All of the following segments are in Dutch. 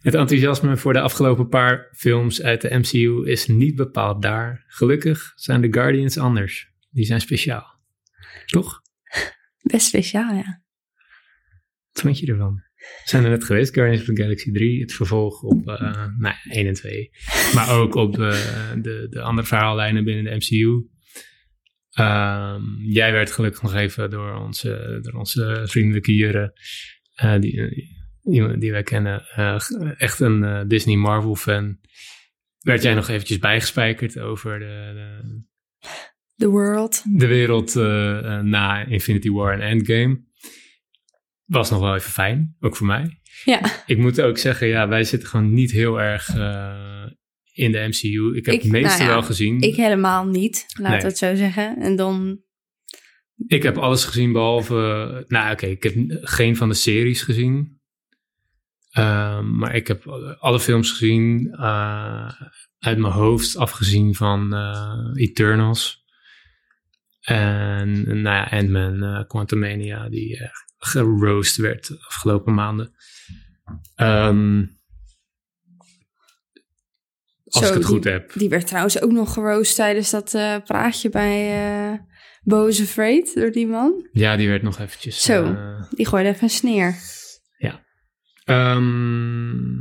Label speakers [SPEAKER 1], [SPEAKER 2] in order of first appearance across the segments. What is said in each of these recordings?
[SPEAKER 1] Het enthousiasme voor de afgelopen paar films uit de MCU is niet bepaald daar. Gelukkig zijn de Guardians anders. Die zijn speciaal. Toch?
[SPEAKER 2] Best speciaal, ja.
[SPEAKER 1] Wat vond je ervan? We zijn er net geweest, Guardians of the Galaxy 3, het vervolg op eh nou, ja, 1 en 2. Maar ook op eh, de, de andere verhaallijnen binnen de MCU. Ehm, jij werd gelukkig nog even door onze, door onze vriendelijke Jure, eh, die, eh, iemand die wij kennen, eh, g- echt een eh, Disney Marvel fan. Werd jij nog eventjes bijgespijkerd over de, de,
[SPEAKER 2] The World.
[SPEAKER 1] de wereld eh, eh, na Infinity War en Endgame. Was nog wel even fijn, ook voor mij.
[SPEAKER 2] Ja,
[SPEAKER 1] Ik moet ook zeggen, ja, wij zitten gewoon niet heel erg eh, in de MCU. Ik heb
[SPEAKER 2] Ik-
[SPEAKER 1] het meeste
[SPEAKER 2] nou ja,
[SPEAKER 1] wel gezien.
[SPEAKER 2] ik
[SPEAKER 1] Ik,
[SPEAKER 2] helemaal niet, laten
[SPEAKER 1] Hmm. Nee.
[SPEAKER 2] we het zo zeggen. En dan,
[SPEAKER 1] heb alles gezien behalve... Nou, oké, ik heb geen van de series gezien. Ehm, maar ik heb alle films gezien. eh, uit mijn hoofd, afgezien van eh, Eternals. En nou ja, Ant-Man, eh, Quantumania, die eh, geroost werd de afgelopen maanden. Ehm, als
[SPEAKER 2] Zo,
[SPEAKER 1] ik het goed
[SPEAKER 2] die-
[SPEAKER 1] heb.
[SPEAKER 2] die werd trouwens ook nog geroost tijdens dat eh, praatje bij eh Boos Afraid door die man.
[SPEAKER 1] Ja, die werd nog eventjes...
[SPEAKER 2] Zo.
[SPEAKER 1] eh,
[SPEAKER 2] Die gooide even een sneer.
[SPEAKER 1] ehm,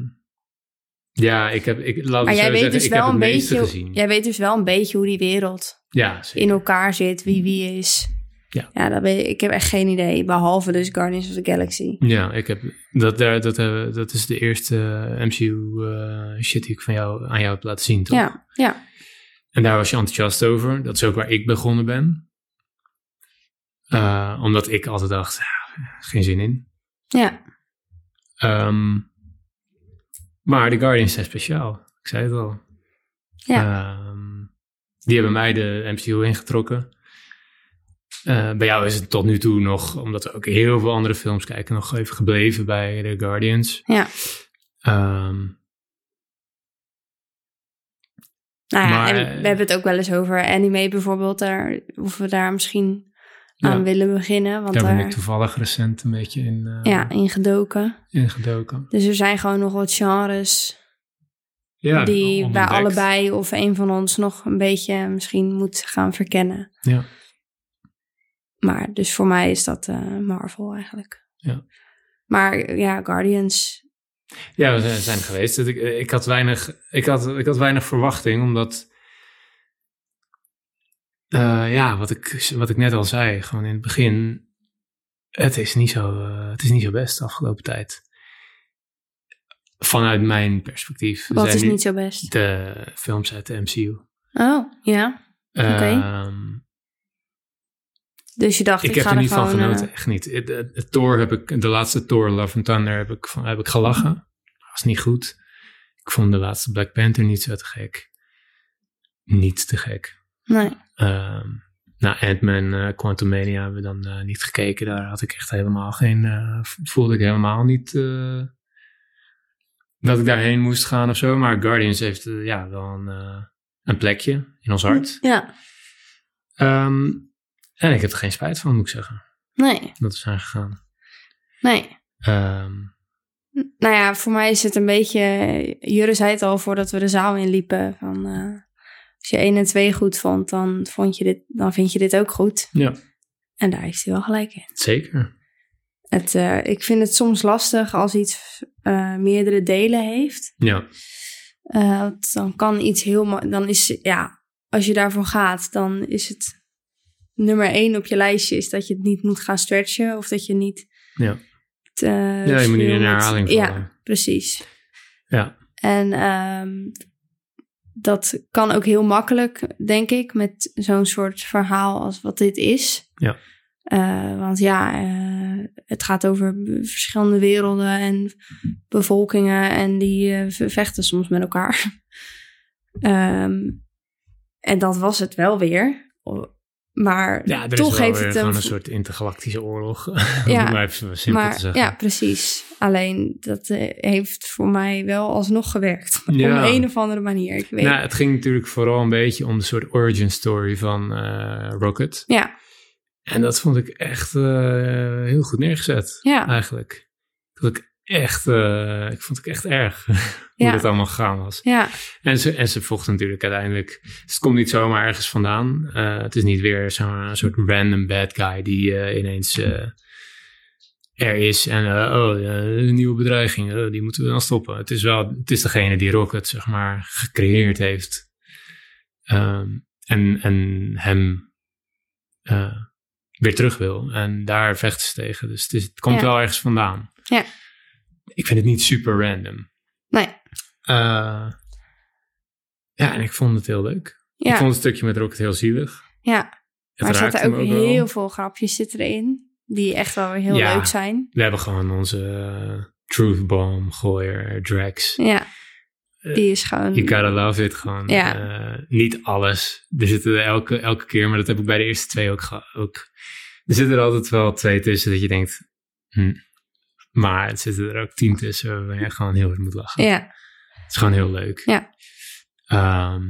[SPEAKER 1] ja, ik heb... Ik, laat
[SPEAKER 2] Maar
[SPEAKER 1] het
[SPEAKER 2] jij
[SPEAKER 1] zo
[SPEAKER 2] weet
[SPEAKER 1] zeggen,
[SPEAKER 2] dus
[SPEAKER 1] ik heb
[SPEAKER 2] wel
[SPEAKER 1] het
[SPEAKER 2] een
[SPEAKER 1] meeste
[SPEAKER 2] beetje,
[SPEAKER 1] gezien.
[SPEAKER 2] jij weet dus wel een beetje hoe die wereld
[SPEAKER 1] ja, zeker.
[SPEAKER 2] in elkaar zit, wie wie is.
[SPEAKER 1] Ja.
[SPEAKER 2] ja dat weet, ik- ik heb echt geen idee, behalve dus Guardians of the Galaxy.
[SPEAKER 1] Ja, ik heb, dat, daar, dat, hebben- dat is de eerste MCU eh, shit die ik van jou, aan jou heb laten zien, toch?
[SPEAKER 2] Ja, ja.
[SPEAKER 1] En daar was je enthousiast over. Dat is ook waar ik begonnen ben. Eh, omdat ik altijd dacht, "Ah, geen zin in.
[SPEAKER 2] ja.
[SPEAKER 1] Ehm, maar de Guardians zijn speciaal. Ik zei het al.
[SPEAKER 2] Ja.
[SPEAKER 1] Ehm, die hebben mij de MCU ingetrokken. Eh, bij jou is het tot nu toe nog, omdat we ook heel veel andere films kijken, nog even gebleven bij de Guardians.
[SPEAKER 2] Ja.
[SPEAKER 1] Ehm,
[SPEAKER 2] Nou ja,
[SPEAKER 1] Maar-
[SPEAKER 2] en we hebben het ook wel eens over anime bijvoorbeeld. Daar, of we daar misschien
[SPEAKER 1] Ja.
[SPEAKER 2] aan willen beginnen. Want
[SPEAKER 1] daar
[SPEAKER 2] daar,
[SPEAKER 1] ben ik toevallig recent een beetje in, eh,
[SPEAKER 2] ja, ingedoken.
[SPEAKER 1] in gedoken.
[SPEAKER 2] Dus er zijn gewoon nog wat genres
[SPEAKER 1] Ja,
[SPEAKER 2] die bij
[SPEAKER 1] onontdekt.
[SPEAKER 2] allebei of een van ons nog een beetje misschien moet gaan verkennen.
[SPEAKER 1] Ja.
[SPEAKER 2] Maar dus voor mij is dat eh, Marvel eigenlijk.
[SPEAKER 1] Ja.
[SPEAKER 2] Maar ja, Guardians.
[SPEAKER 1] Ja, we zijn- zijn er geweest. Ik, ik, had weinig, ik, had, ik had weinig verwachting, omdat... eh, ja, wat ik, wat ik net al zei, gewoon in het begin... Het is niet zo, eh, het is niet zo best de afgelopen tijd. Vanuit mijn perspectief.
[SPEAKER 2] Wat
[SPEAKER 1] zijn
[SPEAKER 2] is
[SPEAKER 1] nu
[SPEAKER 2] niet zo best?
[SPEAKER 1] De films uit de MCU.
[SPEAKER 2] Oh, ja. Oké.
[SPEAKER 1] Ehm,
[SPEAKER 2] Dus je dacht, ik,
[SPEAKER 1] Ik heb
[SPEAKER 2] ga
[SPEAKER 1] er
[SPEAKER 2] er
[SPEAKER 1] niet van
[SPEAKER 2] gewoon... eh,
[SPEAKER 1] genoten, echt niet. Het, het- het Thor heb ik, de laatste Thor Love and Thunder heb ik, van- heb ik gelachen. Dat was niet goed. Ik vond de laatste Black Panther niet zo te gek. Niet te gek.
[SPEAKER 2] eh, nee.
[SPEAKER 1] Ehm nou, Ant-Man, eh, Quantumania hebben we dan eh, niet gekeken. Daar had ik echt helemaal geen... eh, v- voelde ik helemaal niet... eh, dat ik daarheen moest gaan of zo. Maar Guardians heeft eh, ja, wel een, eh, een plekje in ons hart.
[SPEAKER 2] Ja,
[SPEAKER 1] Ehm, en ik heb er geen spijt van, moet ik zeggen.
[SPEAKER 2] nee,
[SPEAKER 1] Dat we zijn gegaan.
[SPEAKER 2] nee.
[SPEAKER 1] Ehm,
[SPEAKER 2] Nou ja, voor mij is het een beetje. Jurre zei het al voordat we de zaal inliepen. Van, eh, als je 1 en 2 goed vond, dan, vond je dit, dan vind je dit ook goed.
[SPEAKER 1] ja,
[SPEAKER 2] En daar heeft hij wel gelijk in.
[SPEAKER 1] zeker.
[SPEAKER 2] Het, eh, ik vind het soms lastig als iets eh, meerdere delen heeft.
[SPEAKER 1] Ja,
[SPEAKER 2] Eh, want dan kan iets heel. ma- Dan is, ja, als je daarvoor gaat, dan is het. Nummer 1 op je lijstje is dat je het niet moet gaan stretchen. Of dat je niet.
[SPEAKER 1] Ja.
[SPEAKER 2] te, eh,
[SPEAKER 1] ja je moet niet
[SPEAKER 2] veel
[SPEAKER 1] in
[SPEAKER 2] met-
[SPEAKER 1] herhaling vallen.
[SPEAKER 2] Ja,
[SPEAKER 1] Ja.
[SPEAKER 2] precies.
[SPEAKER 1] Ja.
[SPEAKER 2] En ehm, dat kan ook heel makkelijk, denk ik, met zo'n soort verhaal als wat dit is.
[SPEAKER 1] Ja.
[SPEAKER 2] Eh, want ja, eh, het gaat over b- verschillende werelden en bevolkingen en die eh, ve- vechten soms met elkaar. Ehm, en dat was het wel weer. O- Maar
[SPEAKER 1] er is
[SPEAKER 2] toch
[SPEAKER 1] wel
[SPEAKER 2] heeft
[SPEAKER 1] weer
[SPEAKER 2] het
[SPEAKER 1] gewoon
[SPEAKER 2] een,
[SPEAKER 1] een soort intergalactische oorlog.
[SPEAKER 2] Ja,
[SPEAKER 1] Om maar even simpel te zeggen.
[SPEAKER 2] ja, precies. Alleen dat eh, heeft voor mij wel alsnog gewerkt.
[SPEAKER 1] Ja.
[SPEAKER 2] Op een of andere manier. Ik weet.
[SPEAKER 1] Nou, het ging natuurlijk vooral een beetje om de soort origin story van eh, Rocket.
[SPEAKER 2] ja,
[SPEAKER 1] En dat vond ik echt eh, heel goed neergezet,
[SPEAKER 2] ja,
[SPEAKER 1] eigenlijk. Dat ik echt, eh, ik vond het echt erg hoe
[SPEAKER 2] Ja.
[SPEAKER 1] dat allemaal gegaan was.
[SPEAKER 2] Ja,
[SPEAKER 1] En ze, en ze vochten natuurlijk uiteindelijk. Dus het komt niet zomaar ergens vandaan. Eh, het is niet weer zo'n eh, soort random bad guy die eh, ineens eh, er is. En eh, oh, eh, een nieuwe bedreiging. eh, die moeten we dan stoppen. Het is wel het is degene die Rocket, zeg maar, gecreëerd heeft. Ehm, en, en hem eh, weer terug wil. En daar vechten ze tegen. Dus het, is, het komt
[SPEAKER 2] Ja.
[SPEAKER 1] wel ergens vandaan.
[SPEAKER 2] Ja.
[SPEAKER 1] Ik vind het niet super random.
[SPEAKER 2] nee.
[SPEAKER 1] Eh, ja, en ik vond het heel leuk. Ik
[SPEAKER 2] Ja,
[SPEAKER 1] vond het stukje met Rocket heel zielig.
[SPEAKER 2] ja.
[SPEAKER 1] Het
[SPEAKER 2] maar er
[SPEAKER 1] raakte
[SPEAKER 2] zitten ook,
[SPEAKER 1] me wel.
[SPEAKER 2] heel veel grapjes zitten erin. Die echt wel weer heel
[SPEAKER 1] Ja.
[SPEAKER 2] leuk zijn.
[SPEAKER 1] We hebben gewoon onze eh, truth bomb gooier, Drax.
[SPEAKER 2] Ja,
[SPEAKER 1] Eh,
[SPEAKER 2] die is gewoon...
[SPEAKER 1] You gotta love it gewoon.
[SPEAKER 2] Ja.
[SPEAKER 1] Eh, niet alles. Er zitten elke, elke keer, maar dat heb ik bij de eerste twee ook, ge- ook. Er zitten er altijd wel twee tussen dat je denkt... Hm. Maar er zitten er ook tien tussen waar je gewoon heel hard moet lachen.
[SPEAKER 2] Ja,
[SPEAKER 1] Het is gewoon heel leuk.
[SPEAKER 2] Ja.
[SPEAKER 1] Ehm,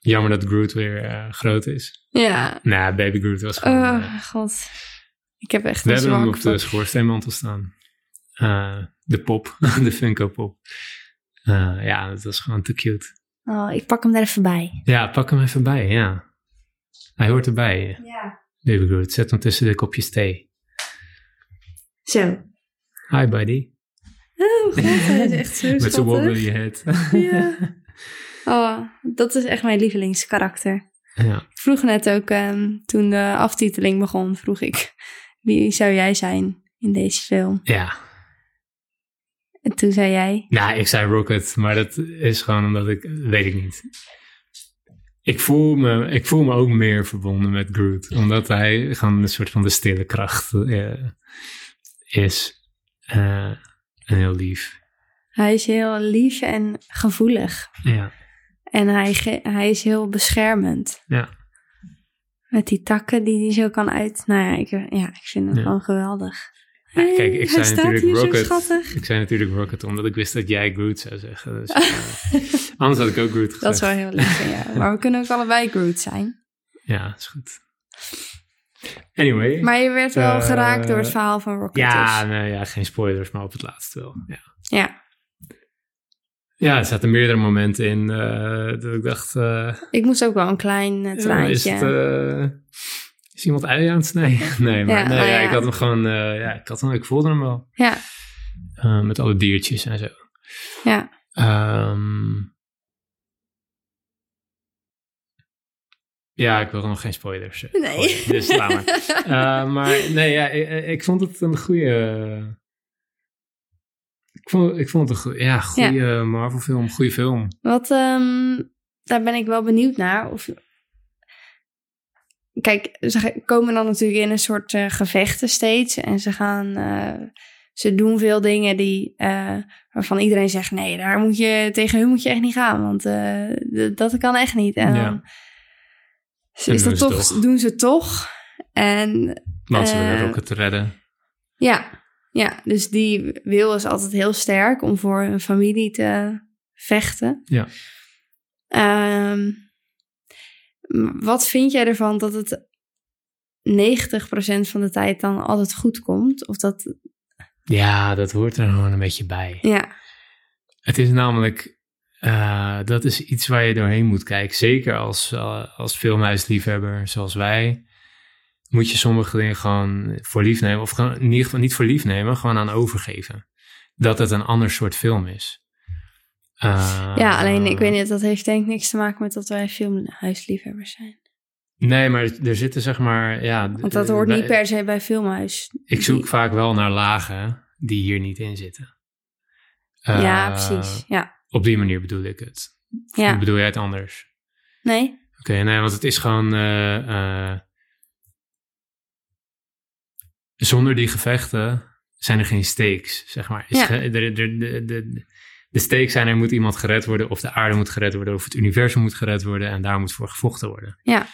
[SPEAKER 1] jammer dat Groot weer eh, groot is.
[SPEAKER 2] ja.
[SPEAKER 1] Nou, Baby Groot was gewoon...
[SPEAKER 2] Oh,
[SPEAKER 1] eh,
[SPEAKER 2] god. Ik heb echt
[SPEAKER 1] we
[SPEAKER 2] een
[SPEAKER 1] hebben hem
[SPEAKER 2] zwak
[SPEAKER 1] op de
[SPEAKER 2] voor...
[SPEAKER 1] schoorsteenmantel staan. Eh, de pop, de Funko pop. Eh, ja, dat was gewoon te cute.
[SPEAKER 2] Oh, ik pak hem er even bij.
[SPEAKER 1] Ja, pak hem even bij, ja. Hij hoort erbij,
[SPEAKER 2] Ja.
[SPEAKER 1] Baby Groot. Zet hem tussen de kopjes thee.
[SPEAKER 2] Zo.
[SPEAKER 1] Hi, buddy.
[SPEAKER 2] Oh, god, hij is echt zo
[SPEAKER 1] Met zijn
[SPEAKER 2] schattig.
[SPEAKER 1] wobbly head.
[SPEAKER 2] Ja. Oh, dat is echt mijn lievelingskarakter.
[SPEAKER 1] ja.
[SPEAKER 2] Ik vroeg net ook, ehm, toen de aftiteling begon, vroeg ik... Wie zou jij zijn in deze film?
[SPEAKER 1] ja.
[SPEAKER 2] En toen zei jij...
[SPEAKER 1] Nou, ik zei Rocket, maar dat is gewoon omdat ik... Weet ik niet. Ik voel me, ik voel me ook meer verbonden met Groot. Omdat hij gewoon een soort van de stille kracht eh, is. Eh, en heel lief.
[SPEAKER 2] Hij is heel lief en gevoelig.
[SPEAKER 1] Ja.
[SPEAKER 2] En hij, ge- hij is heel beschermend.
[SPEAKER 1] Ja.
[SPEAKER 2] Met die takken die hij zo kan uit... Nou ja, ik, ja, ik vind het
[SPEAKER 1] Ja.
[SPEAKER 2] gewoon geweldig.
[SPEAKER 1] Ja,
[SPEAKER 2] Hey,
[SPEAKER 1] kijk, ik
[SPEAKER 2] hij
[SPEAKER 1] zei,
[SPEAKER 2] staat
[SPEAKER 1] natuurlijk
[SPEAKER 2] hier zo
[SPEAKER 1] Rocket,
[SPEAKER 2] schattig.
[SPEAKER 1] ik zei natuurlijk Rocket omdat ik wist dat jij Groot zou zeggen. Dus, eh, anders had ik ook Groot gezegd.
[SPEAKER 2] Dat is wel heel lief van jou. Maar we kunnen ook allebei Groot zijn.
[SPEAKER 1] Ja, is goed. Anyway.
[SPEAKER 2] Maar je werd wel
[SPEAKER 1] Eh,
[SPEAKER 2] geraakt door het verhaal van Rocket.
[SPEAKER 1] ja,
[SPEAKER 2] dus.
[SPEAKER 1] nou ja, geen spoilers, maar op het laatste wel. Ja.
[SPEAKER 2] ja.
[SPEAKER 1] Ja, er zaten meerdere momenten in eh, dat ik dacht, eh,
[SPEAKER 2] Ik moest ook wel een klein eh,
[SPEAKER 1] eh,
[SPEAKER 2] traantje.
[SPEAKER 1] is, het, eh, is iemand ui aan het snijden? Nee, maar
[SPEAKER 2] Ja,
[SPEAKER 1] nee,
[SPEAKER 2] oh
[SPEAKER 1] ja,
[SPEAKER 2] ja.
[SPEAKER 1] ik had hem gewoon, eh, ja, ik had hem, ik voelde hem wel.
[SPEAKER 2] Ja,
[SPEAKER 1] Eh, met alle diertjes en zo.
[SPEAKER 2] ja.
[SPEAKER 1] Ehm, ja, ik wil nog geen spoilers. eh,
[SPEAKER 2] Nee.
[SPEAKER 1] gooien, dus laat maar. Eh, maar nee, ja, ik, ik vond het een goede. Ik vond, ik vond het een goede, ja, goede Marvel-film, goede film.
[SPEAKER 2] Wat, ehm, daar ben ik wel benieuwd naar. Of... Kijk, ze ge- komen dan natuurlijk in een soort eh, gevechten steeds. En ze gaan, eh, ze doen veel dingen die, eh, waarvan iedereen zegt, nee, daar moet je, tegen hun moet je echt niet gaan. Want eh, d- dat kan echt niet. En
[SPEAKER 1] Ja.
[SPEAKER 2] dan
[SPEAKER 1] En
[SPEAKER 2] is
[SPEAKER 1] doen
[SPEAKER 2] dat
[SPEAKER 1] ze
[SPEAKER 2] toch,
[SPEAKER 1] toch.
[SPEAKER 2] doen ze toch. En
[SPEAKER 1] Want ze
[SPEAKER 2] Eh,
[SPEAKER 1] willen Rocket redden.
[SPEAKER 2] ja, ja, dus die wil is altijd heel sterk om voor hun familie te vechten.
[SPEAKER 1] Ja.
[SPEAKER 2] Ehm, m- wat vind jij ervan dat het 90% van de tijd dan altijd goed komt? Of dat,
[SPEAKER 1] Ja, dat hoort er gewoon een beetje bij.
[SPEAKER 2] ja,
[SPEAKER 1] Het is namelijk, eh, dat is iets waar je doorheen moet kijken. Zeker als, eh, als filmhuisliefhebber zoals wij, moet je sommige dingen gewoon voor lief nemen. Of gewoon, in ieder geval niet voor lief nemen, gewoon aan overgeven. Dat het een ander soort film is. Eh,
[SPEAKER 2] ja, alleen ik weet niet, dat heeft denk ik niks te maken met dat wij filmhuisliefhebbers zijn.
[SPEAKER 1] Nee, maar er zitten zeg maar, ja.
[SPEAKER 2] Want dat
[SPEAKER 1] eh,
[SPEAKER 2] hoort
[SPEAKER 1] wij-
[SPEAKER 2] niet per se bij filmhuis.
[SPEAKER 1] Ik zoek vaak wel naar lagen die hier niet in zitten. Eh,
[SPEAKER 2] ja, precies. Ja.
[SPEAKER 1] Op die manier bedoel ik het.
[SPEAKER 2] ja.
[SPEAKER 1] Bedoel jij het anders?
[SPEAKER 2] Nee?
[SPEAKER 1] Oké, nee, want het is gewoon. eh, eh, zonder die gevechten zijn er geen stakes, zeg maar. Is
[SPEAKER 2] Ja.
[SPEAKER 1] ge- de, de, de, de, de stakes zijn: er moet iemand gered worden, of de aarde moet gered worden, of het universum moet gered worden, en daar moet voor gevochten worden.
[SPEAKER 2] Ja.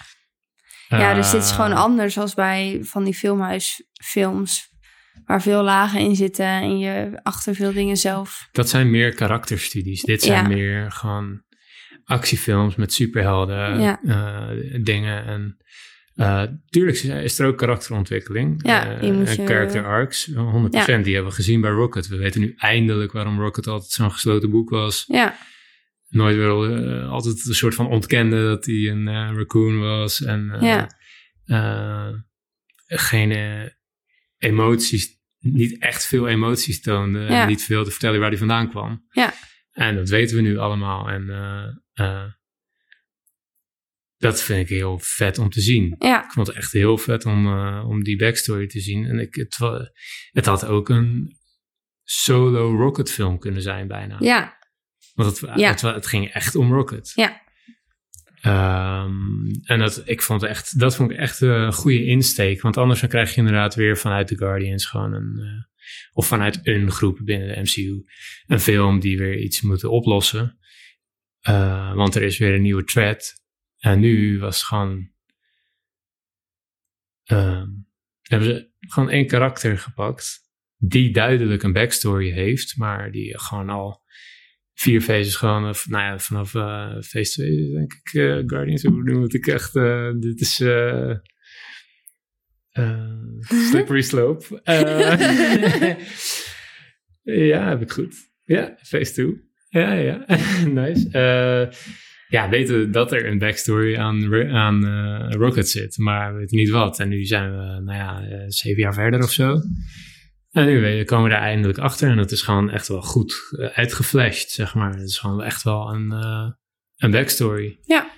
[SPEAKER 2] Ja, dus dit is
[SPEAKER 1] Eh,
[SPEAKER 2] gewoon anders als bij van die filmhuisfilms. Waar veel lagen in zitten en je achter veel dingen zelf.
[SPEAKER 1] Dat zijn meer karakterstudies. Dit zijn
[SPEAKER 2] Ja.
[SPEAKER 1] meer gewoon actiefilms met superhelden
[SPEAKER 2] Ja.
[SPEAKER 1] eh, dingen. En, Eh, tuurlijk is- is er ook karakterontwikkeling.
[SPEAKER 2] Ja,
[SPEAKER 1] eh,
[SPEAKER 2] die moet
[SPEAKER 1] en
[SPEAKER 2] je-
[SPEAKER 1] character arcs, 100%. Die hebben we gezien bij Rocket. We weten nu eindelijk waarom Rocket altijd zo'n gesloten boek was.
[SPEAKER 2] Ja,
[SPEAKER 1] Nooit wel eh, altijd een soort van ontkende dat hij een eh, raccoon was. En eh,
[SPEAKER 2] Ja.
[SPEAKER 1] eh, geen eh, emoties, niet echt veel emoties toonde.
[SPEAKER 2] Ja.
[SPEAKER 1] En niet veel te vertellen waar hij vandaan kwam.
[SPEAKER 2] Ja.
[SPEAKER 1] En dat weten we nu allemaal. En eh, eh, dat vind ik heel vet om te zien.
[SPEAKER 2] ja,
[SPEAKER 1] Ik vond het echt heel vet om, eh, om die backstory te zien. En ik, het, wa- het had ook een solo Rocket film kunnen zijn bijna.
[SPEAKER 2] ja,
[SPEAKER 1] Want het,
[SPEAKER 2] Ja.
[SPEAKER 1] het, wa- het ging echt om Rocket.
[SPEAKER 2] Ja.
[SPEAKER 1] Ehm, en dat, ik vond het echt, dat vond ik echt eh, een goede insteek. Want anders dan krijg je inderdaad weer vanuit de Guardians gewoon een... eh, of vanuit een groep binnen de MCU. Een film die weer iets moeten oplossen. Eh, want er is weer een nieuwe thread. En nu was het gewoon... ehm, hebben ze gewoon één karakter gepakt. Die duidelijk een backstory heeft. Maar die gewoon al vier faces gewoon, eh, v- nou ja, vanaf eh phase 2 denk ik, eh, Guardians over doen, want ik echt, eh, dit is eh, eh, slippery slope. Eh, ja, heb ik goed. Ja, phase 2. Ja, ja, nice. Eh, ja, weten we dat er een backstory aan, Ro- aan eh, Rocket zit, maar we weten niet wat. En nu zijn we, nou ja, eh, zeven jaar verder of zo. En nu we- komen we daar eindelijk achter. En dat is gewoon echt wel goed eh, uitgeflashed, zeg maar. Het is gewoon echt wel een, eh, een backstory.
[SPEAKER 2] Ja.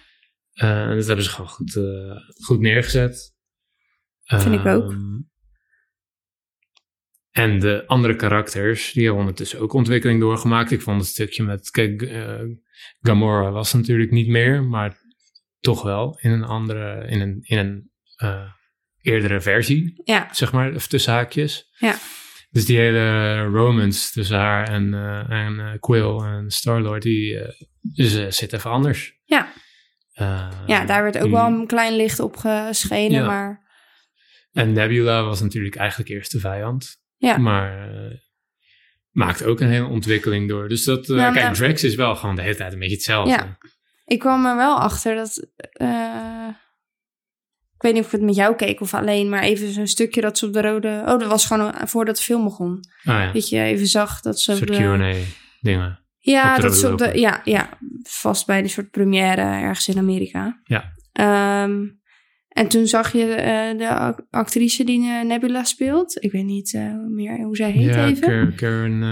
[SPEAKER 1] Eh, en dat hebben ze gewoon goed, eh, goed neergezet.
[SPEAKER 2] Vind ik ook.
[SPEAKER 1] Ehm, En de andere karakters, die hebben ondertussen ook ontwikkeling doorgemaakt. Ik vond het stukje met... Kijk, eh, Gamora was natuurlijk niet meer, maar toch wel in een andere... In een, in een eh, eerdere versie
[SPEAKER 2] ja,
[SPEAKER 1] zeg maar, of tussen haakjes.
[SPEAKER 2] Ja.
[SPEAKER 1] Dus die hele romance tussen haar en, eh, en eh, Quill en Star-Lord, die eh, is, eh, zit even anders.
[SPEAKER 2] Ja.
[SPEAKER 1] Eh,
[SPEAKER 2] ja, daar werd ook
[SPEAKER 1] mm.
[SPEAKER 2] wel een klein licht op geschenen,
[SPEAKER 1] Ja.
[SPEAKER 2] maar
[SPEAKER 1] En Nebula was natuurlijk eigenlijk eerst de vijand.
[SPEAKER 2] Ja.
[SPEAKER 1] Maar eh, maakt ook een hele ontwikkeling door. Dus dat, eh,
[SPEAKER 2] Nou,
[SPEAKER 1] kijk,
[SPEAKER 2] nou-
[SPEAKER 1] Drax is wel gewoon de hele tijd een beetje hetzelfde.
[SPEAKER 2] Ja. ik kwam er wel achter dat... eh, ik weet niet of ik het met jou keek of alleen, maar even zo'n stukje dat ze op de rode... Oh, dat was gewoon voordat de film begon.
[SPEAKER 1] Ah ja,
[SPEAKER 2] Dat je even zag Dus dat eh, ze...
[SPEAKER 1] een
[SPEAKER 2] op
[SPEAKER 1] soort
[SPEAKER 2] de-
[SPEAKER 1] Q&A dingen.
[SPEAKER 2] Ja,
[SPEAKER 1] Op de
[SPEAKER 2] dat ze
[SPEAKER 1] rode
[SPEAKER 2] op de,
[SPEAKER 1] loper.
[SPEAKER 2] ja, ja, vast bij de soort première ergens in Amerika.
[SPEAKER 1] Ja.
[SPEAKER 2] Ehm, en toen zag je eh, de ac- actrice die eh, Nebula speelt. Ik weet niet eh, meer hoe zij heet
[SPEAKER 1] ja,
[SPEAKER 2] even.
[SPEAKER 1] Karen, Karen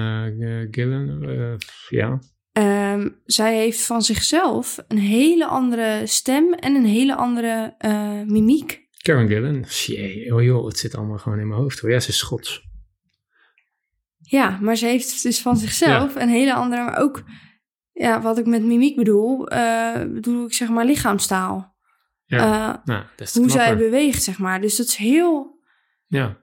[SPEAKER 1] eh, Gillan. eh, ja.
[SPEAKER 2] Ehm, zij heeft van zichzelf een hele andere stem en een hele andere eh, mimiek.
[SPEAKER 1] Karen Gillan. Jee, oh joh, het zit allemaal gewoon in mijn hoofd hoor. Ja, ze is Schots.
[SPEAKER 2] Ja, maar ze heeft dus van zichzelf een hele andere... Maar ook, ja, wat ik met mimiek bedoel, eh, bedoel ik zeg maar lichaamstaal.
[SPEAKER 1] Ja,
[SPEAKER 2] Eh,
[SPEAKER 1] nou, dat is
[SPEAKER 2] hoe
[SPEAKER 1] knapper.
[SPEAKER 2] zij beweegt, zeg maar. Dus dat is heel...
[SPEAKER 1] Ja,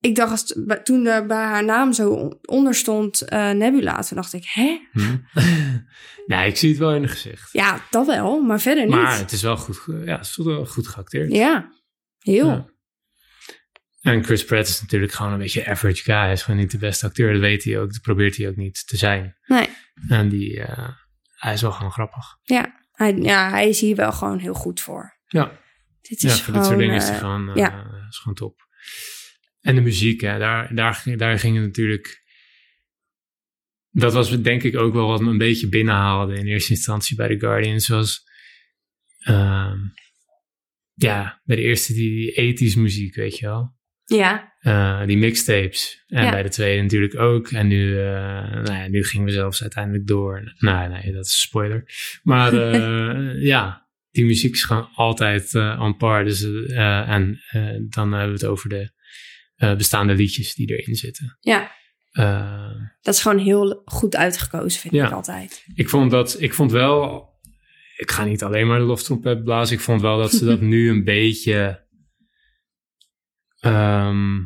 [SPEAKER 2] Ik dacht, als t- bij- toen er bij haar naam zo on- onder stond eh, Nebula, toen dacht ik, hè?
[SPEAKER 1] hm. nee, ik zie het wel in het gezicht.
[SPEAKER 2] Ja, dat wel, maar verder niet.
[SPEAKER 1] maar het is wel goed, ge- ja, het is wel goed geacteerd.
[SPEAKER 2] Ja, heel.
[SPEAKER 1] Ja. En Chris Pratt is natuurlijk gewoon een beetje average guy. Hij is gewoon niet de beste acteur, dat weet hij ook. Dat probeert hij ook niet te zijn.
[SPEAKER 2] Nee.
[SPEAKER 1] En die, eh, hij is wel gewoon grappig.
[SPEAKER 2] Hij, ja, hij is hier wel gewoon heel goed voor.
[SPEAKER 1] Ja.
[SPEAKER 2] Dit
[SPEAKER 1] Ja,
[SPEAKER 2] is
[SPEAKER 1] voor
[SPEAKER 2] gewoon...
[SPEAKER 1] dit soort dingen is
[SPEAKER 2] eh,
[SPEAKER 1] het gewoon, eh,
[SPEAKER 2] ja.
[SPEAKER 1] is gewoon top. En de muziek, hè, daar, daar, ging- daar ging het natuurlijk... Dat was denk ik ook wel wat me een beetje binnenhaalde in eerste instantie bij de Guardians. Was, ehm, ja, bij de eerste die, die 80s muziek, weet je wel.
[SPEAKER 2] ja,
[SPEAKER 1] Eh, die mixtapes. En
[SPEAKER 2] Ja.
[SPEAKER 1] bij de tweede natuurlijk ook. En nu, eh, nou ja, nu gingen we zelfs uiteindelijk door. Nou, nee, dat is een spoiler. Maar eh, ja, die muziek is gewoon altijd eh on par. Dus, eh, en eh, dan hebben we het over de eh, bestaande liedjes die erin zitten.
[SPEAKER 2] ja,
[SPEAKER 1] Eh,
[SPEAKER 2] dat is gewoon heel goed uitgekozen, vind
[SPEAKER 1] Ja.
[SPEAKER 2] ik altijd.
[SPEAKER 1] ik, vond dat, ik vond wel... Ik ga niet alleen maar de loftrompet blazen. Ik vond wel dat ze dat nu een beetje... ehm,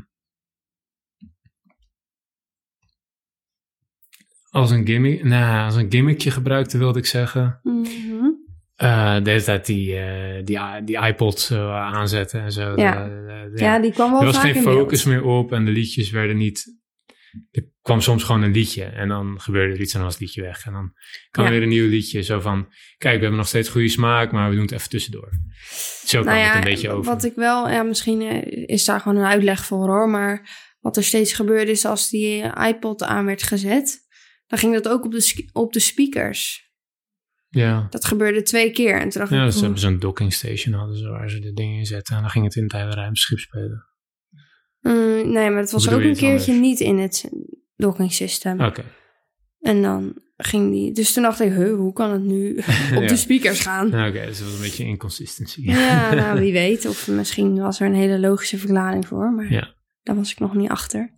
[SPEAKER 1] als een gimmick... Nou, als een gimmickje gebruikte, wilde ik zeggen.
[SPEAKER 2] Mhm.
[SPEAKER 1] Eh, de hele tijd die, eh, die, i- die iPod zo aanzetten en zo.
[SPEAKER 2] Ja.
[SPEAKER 1] Eh, eh,
[SPEAKER 2] ja. die kwam wel
[SPEAKER 1] er was
[SPEAKER 2] vaak
[SPEAKER 1] geen
[SPEAKER 2] in beeld.
[SPEAKER 1] focus meer op en de liedjes werden niet er kwam soms gewoon een liedje en dan gebeurde er iets en dan was het liedje weg. En dan kwam
[SPEAKER 2] Ja.
[SPEAKER 1] weer een nieuw liedje, zo van, kijk, we hebben nog steeds goede smaak, maar we doen het even tussendoor. Zo kwam het een beetje over.
[SPEAKER 2] Nou Wat ik wel, ja, misschien eh, is daar gewoon een uitleg voor hoor. Maar wat er steeds gebeurde is als die eh, iPod aan werd gezet, dan ging dat ook op de, sk- op de speakers.
[SPEAKER 1] Ja.
[SPEAKER 2] Dat gebeurde twee keer. En toen dacht
[SPEAKER 1] Ja,
[SPEAKER 2] ik,
[SPEAKER 1] ze
[SPEAKER 2] "Oeh,
[SPEAKER 1] hebben zo'n docking station hadden ze waar ze de dingen in zetten. En dan ging het in het hele ruimteschip spelen.
[SPEAKER 2] mm, nee, maar het was
[SPEAKER 1] Bedoel
[SPEAKER 2] ook
[SPEAKER 1] je
[SPEAKER 2] een
[SPEAKER 1] iets
[SPEAKER 2] keertje
[SPEAKER 1] anders?
[SPEAKER 2] niet in het docking system.
[SPEAKER 1] Oké.
[SPEAKER 2] En dan ging die. Dus toen dacht ik, "Huh, hoe kan het nu op
[SPEAKER 1] Ja.
[SPEAKER 2] de speakers gaan?
[SPEAKER 1] Nou, Oké, dus dat was een beetje inconsistency.
[SPEAKER 2] Ja, nou, wie weet. Of misschien was er een hele logische verklaring voor, maar
[SPEAKER 1] Ja.
[SPEAKER 2] daar was ik nog niet achter.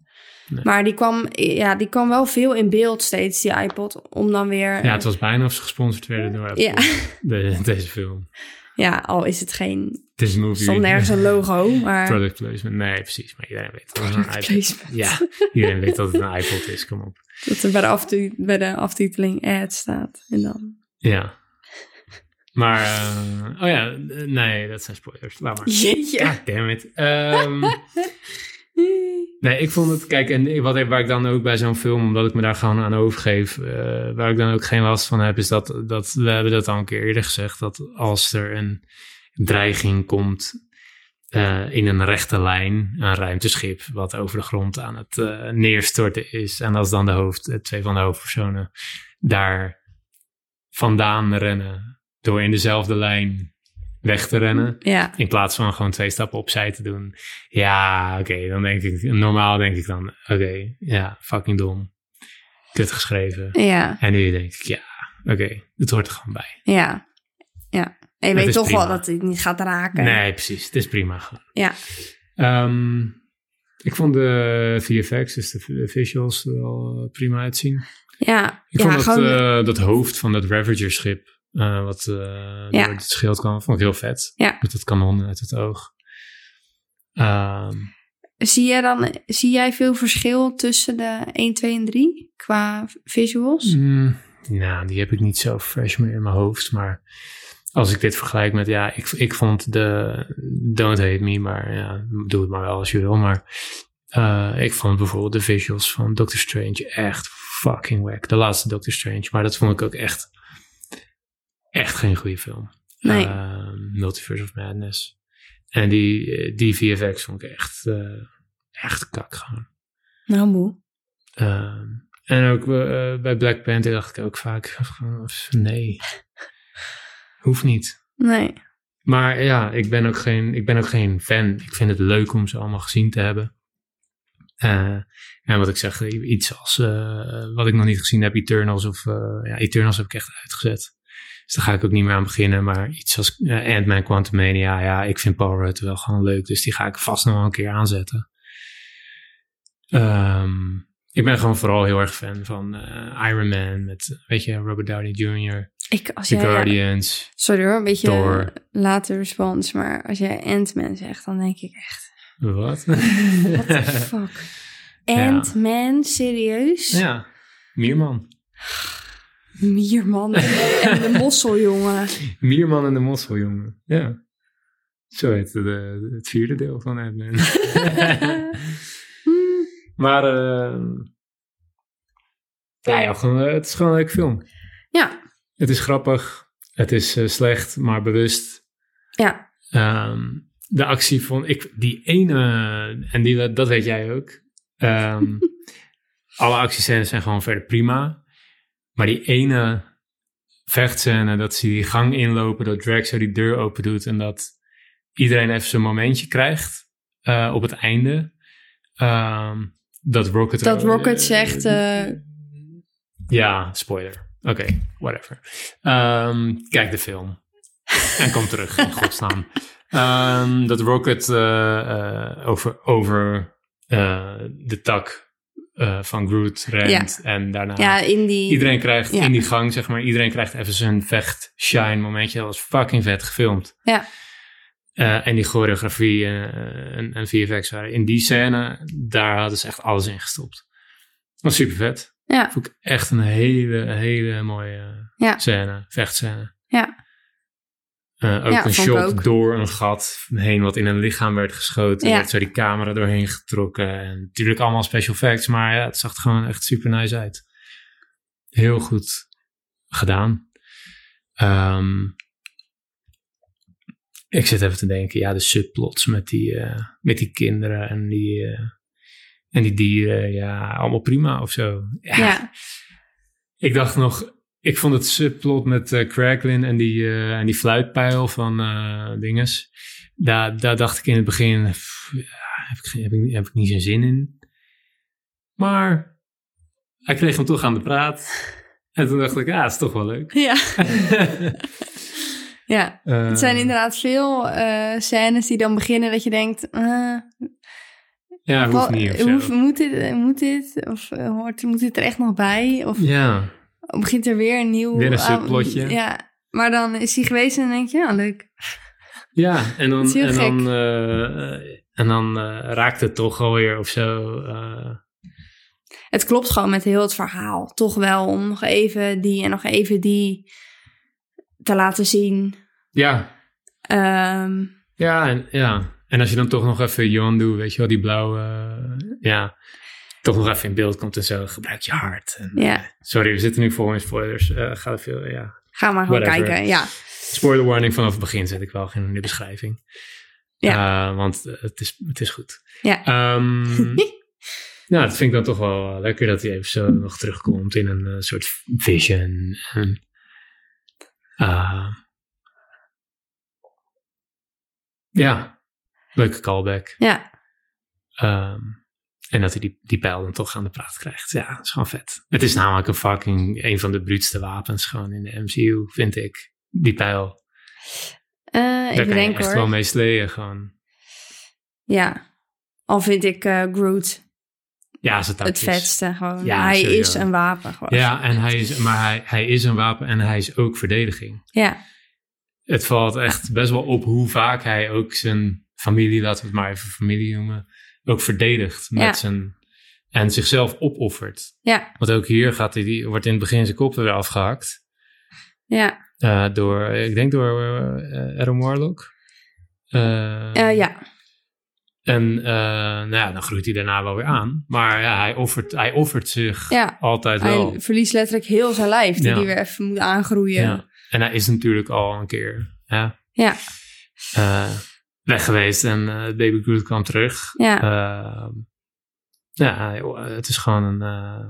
[SPEAKER 1] Nee.
[SPEAKER 2] Maar die kwam, ja, die kwam wel veel in beeld steeds, die iPod, om dan weer...
[SPEAKER 1] Ja, het was bijna of ze gesponsord werden door Apple.
[SPEAKER 2] ja,
[SPEAKER 1] De- deze film.
[SPEAKER 2] ja, al is het geen...
[SPEAKER 1] Het is een
[SPEAKER 2] Er
[SPEAKER 1] movie.
[SPEAKER 2] stond nergens een logo, maar...
[SPEAKER 1] Product placement. Nee, precies. Maar iedereen weet dat het een iPod
[SPEAKER 2] Placement.
[SPEAKER 1] Ja, iedereen weet dat het een iPod is. Kom op.
[SPEAKER 2] Dat er bij de, aftu- bij de aftiteling ad staat. En dan...
[SPEAKER 1] Ja. Maar, eh, oh ja, eh, nee, dat zijn spoilers. Laat maar.
[SPEAKER 2] Jeetje.
[SPEAKER 1] God damn it. Ehm, Nee, ik vond het, kijk, en wat, ik- waar ik dan ook bij zo'n film, omdat ik me daar gewoon aan overgeef, eh, waar ik dan ook geen last van heb, is dat, dat we hebben dat al een keer eerder gezegd, dat als er een dreiging komt eh, in een rechte lijn, een ruimteschip wat over de grond aan het eh, neerstorten is, en als dan de hoofd, eh, twee van de hoofdpersonen daar vandaan rennen, door in dezelfde lijn weg te rennen,
[SPEAKER 2] Ja,
[SPEAKER 1] in plaats van gewoon twee stappen opzij te doen. Ja, oké, dan denk ik, normaal denk ik dan, oké, ja, fucking dom. Kut geschreven.
[SPEAKER 2] ja,
[SPEAKER 1] En nu denk ik, ja, oké, het hoort er gewoon bij.
[SPEAKER 2] ja, ja. En
[SPEAKER 1] Dat
[SPEAKER 2] je weet
[SPEAKER 1] is
[SPEAKER 2] toch wel
[SPEAKER 1] prima.
[SPEAKER 2] dat hij het niet gaat raken.
[SPEAKER 1] Nee, precies, het is prima gewoon.
[SPEAKER 2] Ja.
[SPEAKER 1] Ehm, ik vond de VFX, dus de visuals, er wel eh, prima uitzien.
[SPEAKER 2] Ja,
[SPEAKER 1] Ik
[SPEAKER 2] ja
[SPEAKER 1] vond dat,
[SPEAKER 2] gewoon...
[SPEAKER 1] eh, dat hoofd van dat Ravager-schip, eh, wat eh, door het schild kwam, vond ik heel vet.
[SPEAKER 2] Ja.
[SPEAKER 1] Met dat kanon uit het oog. Ehm,
[SPEAKER 2] Zie jij, dan, zie jij veel verschil tussen de 1, 2 en 3 qua visuals?
[SPEAKER 1] Mm, nou, die heb ik niet zo fresh meer in mijn hoofd. Maar als ik dit vergelijk met, ja, ik, ik vond de Don't Hate Me, maar ja, doe het maar wel als je wil. Maar eh, ik vond bijvoorbeeld de visuals van Doctor Strange echt fucking wack. De laatste Doctor Strange, maar dat vond ik ook echt, echt geen goede film.
[SPEAKER 2] Nee.
[SPEAKER 1] Eh, Multiverse of Madness. En die, eh, die VFX vond ik echt, eh, echt kak gewoon.
[SPEAKER 2] Nou, moe.
[SPEAKER 1] Ehm, en ook eh, bij Black Panther dacht ik ook vaak, gewoon, nee, hoeft niet.
[SPEAKER 2] Nee.
[SPEAKER 1] Maar ja, ik ben, ook geen, ik ben ook geen fan. Ik vind het leuk om ze allemaal gezien te hebben. Eh, en wat ik zeg, iets als eh, wat ik nog niet gezien heb, Eternals of eh, ja, Eternals heb ik echt uitgezet. Dus daar ga ik ook niet meer aan beginnen. Maar iets als eh, Ant-Man Quantumania, ja, ik vind Paul Rudd wel gewoon leuk. Dus die ga ik vast nog wel een keer aanzetten. Ehm, ik ben gewoon vooral heel erg fan van eh, Iron Man met, weet je, Robert Downey Jr.,
[SPEAKER 2] Ik, als
[SPEAKER 1] The
[SPEAKER 2] jij,
[SPEAKER 1] Guardians.
[SPEAKER 2] Sorry hoor, een beetje
[SPEAKER 1] Thor.
[SPEAKER 2] later respons. Maar als jij Ant-Man zegt, dan denk ik echt...
[SPEAKER 1] Wat?
[SPEAKER 2] What the fuck? Ant-Man, serieus?
[SPEAKER 1] Ja, Mierman.
[SPEAKER 2] Mierman en de mosseljongen.
[SPEAKER 1] Mierman en de Mossel, jongen. Ja. Zo heet het, eh, het vierde deel van Ant-Man.
[SPEAKER 2] Hmm,
[SPEAKER 1] maar, eh ja, ja, gewoon, eh, het is gewoon een leuke film.
[SPEAKER 2] Ja,
[SPEAKER 1] Het is grappig. Het is eh, slecht, maar bewust.
[SPEAKER 2] ja,
[SPEAKER 1] Ehm, de actie vond ik die ene, en die, dat weet jij ook. Ehm, alle actiescènes zijn gewoon verder prima. Maar die ene vechtscène, dat ze die gang inlopen, dat Drag zo die deur open doet en dat iedereen even zijn momentje krijgt eh, op het einde. Ehm, dat Rocket,
[SPEAKER 2] Dat Rocket
[SPEAKER 1] eh,
[SPEAKER 2] zegt, eh,
[SPEAKER 1] ja, spoiler. Oké, whatever. Ehm, kijk de film. En kom terug, in godsnaam. Ehm, dat Rocket eh, eh, over, over eh, de tak eh, van Groot rent. En daarna
[SPEAKER 2] ja, in die...
[SPEAKER 1] iedereen krijgt
[SPEAKER 2] ja.
[SPEAKER 1] in die gang, zeg maar, iedereen krijgt even zijn vecht-shine momentje. Dat was fucking vet gefilmd.
[SPEAKER 2] Ja.
[SPEAKER 1] Eh, en die choreografie eh, en, en VFX waren in die scène, daar hadden ze echt alles in gestopt. Dat was super vet.
[SPEAKER 2] Ja.
[SPEAKER 1] Vond ik echt een hele, hele mooie eh,
[SPEAKER 2] Ja.
[SPEAKER 1] scène, vechtscène.
[SPEAKER 2] Ja.
[SPEAKER 1] Eh, ook
[SPEAKER 2] Ja,
[SPEAKER 1] een
[SPEAKER 2] vond ik
[SPEAKER 1] shot
[SPEAKER 2] ook.
[SPEAKER 1] door een gat heen wat in een lichaam werd geschoten.
[SPEAKER 2] Ja.
[SPEAKER 1] Er werd zo die camera doorheen getrokken. En natuurlijk allemaal special effects, maar ja, het zag er gewoon echt super nice uit. Heel goed gedaan. Ehm, ik zit even te denken, ja, de subplots met die, eh, met die kinderen en die, eh, en die dieren. Ja, allemaal prima of zo.
[SPEAKER 2] Ja,
[SPEAKER 1] Ik dacht nog, ik vond het subplot met eh Cracklin en die, eh, en die fluitpijl van eh, dinges. Daar, daar dacht ik in het begin, pff, ja, heb, ik, geen- heb, ik, heb ik niet zo'n zin in. Maar hij kreeg hem toch aan de praat. En toen dacht ik, ja, is toch wel leuk.
[SPEAKER 2] ja. ja. Het zijn
[SPEAKER 1] Eh,
[SPEAKER 2] inderdaad veel eh, scènes die dan beginnen dat je denkt... eh,
[SPEAKER 1] Ja, hoeft
[SPEAKER 2] wa-
[SPEAKER 1] niet of zo.
[SPEAKER 2] hoef- moet dit? eh, Moet dit? Of eh, hoort, moet dit er echt nog bij? Of
[SPEAKER 1] Ja,
[SPEAKER 2] begint er weer een nieuw...
[SPEAKER 1] Weer een
[SPEAKER 2] ah,
[SPEAKER 1] subplotje.
[SPEAKER 2] ja, maar dan is hij geweest en dan denk je, ja, leuk.
[SPEAKER 1] ja. En
[SPEAKER 2] Het is
[SPEAKER 1] dan,
[SPEAKER 2] heel
[SPEAKER 1] en
[SPEAKER 2] gek.
[SPEAKER 1] dan, eh, en dan eh, raakt het toch alweer of zo. eh,
[SPEAKER 2] Het klopt gewoon met heel het verhaal. Toch wel om nog even die en nog even die te laten zien.
[SPEAKER 1] ja,
[SPEAKER 2] Ehm,
[SPEAKER 1] Ja, en, ja. En als je dan toch nog even Johan doet, weet je wel, die blauwe, eh, ja, toch nog even in beeld komt en zo, gebruik je hart. En,
[SPEAKER 2] ja,
[SPEAKER 1] Sorry, we zitten nu vol in spoilers. Eh ga er veel, ja.
[SPEAKER 2] ga maar gewoon
[SPEAKER 1] Whatever.
[SPEAKER 2] kijken. Ja,
[SPEAKER 1] Spoiler warning vanaf het begin zet ik wel in de beschrijving. Ja. want eh, het is, het is goed.
[SPEAKER 2] Ja.
[SPEAKER 1] Ehm, nou, dat vind ik dan toch wel eh, lekker dat hij even zo nog terugkomt in een eh, soort vision. En, eh, ja, leuke callback.
[SPEAKER 2] ja,
[SPEAKER 1] Ehm, en dat hij die, die pijl dan toch aan de praat krijgt. Ja, dat is gewoon vet. Het is namelijk een fucking, een van de bruutste wapens gewoon in de MCU, vind ik. Die pijl.
[SPEAKER 2] Eh,
[SPEAKER 1] Daar
[SPEAKER 2] ik
[SPEAKER 1] kan je
[SPEAKER 2] denk
[SPEAKER 1] echt
[SPEAKER 2] hoor.
[SPEAKER 1] wel mee sleeën gewoon.
[SPEAKER 2] Ja, al vind ik eh, Groot
[SPEAKER 1] Ja, ze
[SPEAKER 2] het vetste gewoon.
[SPEAKER 1] Ja,
[SPEAKER 2] hij
[SPEAKER 1] sowieso.
[SPEAKER 2] is een wapen gewoon.
[SPEAKER 1] Ja, en hij is, maar hij, hij is een wapen en hij is ook verdediging.
[SPEAKER 2] Ja,
[SPEAKER 1] Het valt echt best wel op hoe vaak hij ook zijn familie, laten we het maar even familie noemen, ook verdedigt met
[SPEAKER 2] Ja.
[SPEAKER 1] zijn, en zichzelf opoffert.
[SPEAKER 2] ja,
[SPEAKER 1] Want ook hier gaat hij, die, wordt in het begin zijn kop weer afgehakt.
[SPEAKER 2] ja.
[SPEAKER 1] Eh, door, ik denk door eh Adam Warlock. Eh,
[SPEAKER 2] Eh, ja.
[SPEAKER 1] En eh, nou ja, dan groeit hij daarna wel weer aan. Maar ja, hij offert, hij offert zich
[SPEAKER 2] ja.
[SPEAKER 1] altijd wel.
[SPEAKER 2] Hij verliest letterlijk heel zijn lijf, die
[SPEAKER 1] Ja.
[SPEAKER 2] die weer even moet aangroeien.
[SPEAKER 1] Ja. En hij is natuurlijk al een keer hè,
[SPEAKER 2] Ja.
[SPEAKER 1] eh, weg geweest en eh, Baby Groot kwam terug.
[SPEAKER 2] Ja.
[SPEAKER 1] Ehm, ja, hij- het is gewoon een... eh,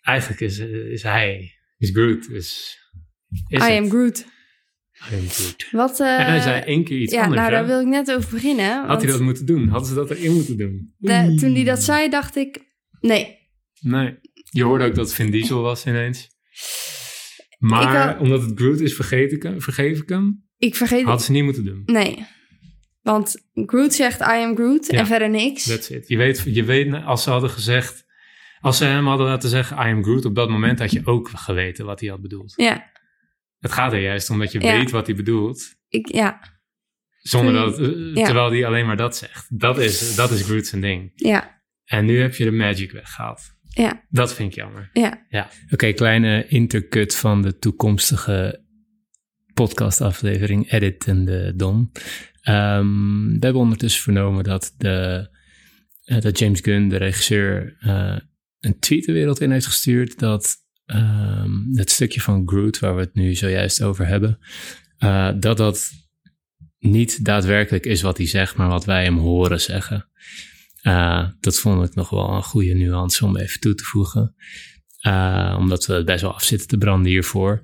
[SPEAKER 1] eigenlijk is, is hij, is Groot, is, is
[SPEAKER 2] I
[SPEAKER 1] het.
[SPEAKER 2] am Groot.
[SPEAKER 1] I am Groot.
[SPEAKER 2] Wat, eh,
[SPEAKER 1] en hij zei één keer iets
[SPEAKER 2] ja,
[SPEAKER 1] anders.
[SPEAKER 2] nou
[SPEAKER 1] hè?
[SPEAKER 2] daar wil ik net over beginnen.
[SPEAKER 1] Had
[SPEAKER 2] want
[SPEAKER 1] hij dat moeten doen? Hadden ze dat erin moeten doen?
[SPEAKER 2] de- toen hij dat zei, dacht ik, nee.
[SPEAKER 1] Nee. Je hoorde ook dat het Vin Diesel was ineens. Maar
[SPEAKER 2] had-
[SPEAKER 1] omdat het Groot is, vergeet ik hem, vergeef ik hem.
[SPEAKER 2] Ik vergeet
[SPEAKER 1] Hadden ze niet moeten doen.
[SPEAKER 2] Nee. Want Groot zegt I am Groot
[SPEAKER 1] Ja.
[SPEAKER 2] en verder niks.
[SPEAKER 1] That's it. Je weet, je weet, als ze hadden gezegd... Als ze hem hadden laten zeggen, I am Groot... op dat moment had je ook geweten wat hij had bedoeld.
[SPEAKER 2] Ja,
[SPEAKER 1] Het gaat er juist om dat je
[SPEAKER 2] Ja.
[SPEAKER 1] weet wat hij bedoelt...
[SPEAKER 2] ik, ja,
[SPEAKER 1] Zonder
[SPEAKER 2] Toen-
[SPEAKER 1] dat, eh,
[SPEAKER 2] ja.
[SPEAKER 1] terwijl hij alleen maar dat zegt. Dat is, dat is Groot zijn ding.
[SPEAKER 2] ja,
[SPEAKER 1] En nu heb je de magic weggehaald.
[SPEAKER 2] Ja.
[SPEAKER 1] Dat vind ik jammer.
[SPEAKER 2] ja.
[SPEAKER 1] Ja. Oké, kleine intercut van de toekomstige podcastaflevering Edit en de Don. Ehm, we hebben ondertussen vernomen dat, de, eh, dat James Gunn, de regisseur, eh, een tweet de wereld in heeft gestuurd dat ehm, het stukje van Groot, waar we het nu zojuist over hebben, eh, dat dat niet daadwerkelijk is wat hij zegt, maar wat wij hem horen zeggen. Eh, dat vond ik nog wel een goede nuance om even toe te voegen. Eh, omdat we het best wel afzitten te branden hiervoor.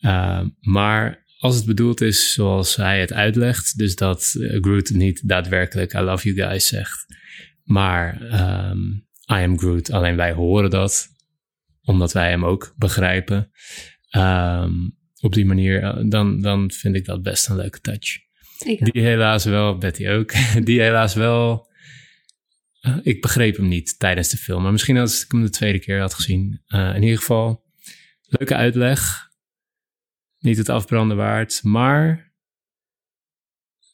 [SPEAKER 1] Eh, maar als het bedoeld is zoals hij het uitlegt, dus dat eh, Groot niet daadwerkelijk I love you guys zegt, maar ehm, I am Groot, alleen wij horen dat, omdat wij hem ook begrijpen. Ehm, op die manier, eh, dan, dan vind ik dat best een leuke touch.
[SPEAKER 2] Ik,
[SPEAKER 1] Die helaas wel, Betty ook. Die helaas wel. eh, ik begreep hem niet tijdens de film. Maar misschien als ik hem de tweede keer had gezien. Eh, in ieder geval, leuke uitleg. Niet het afbranden waard. Maar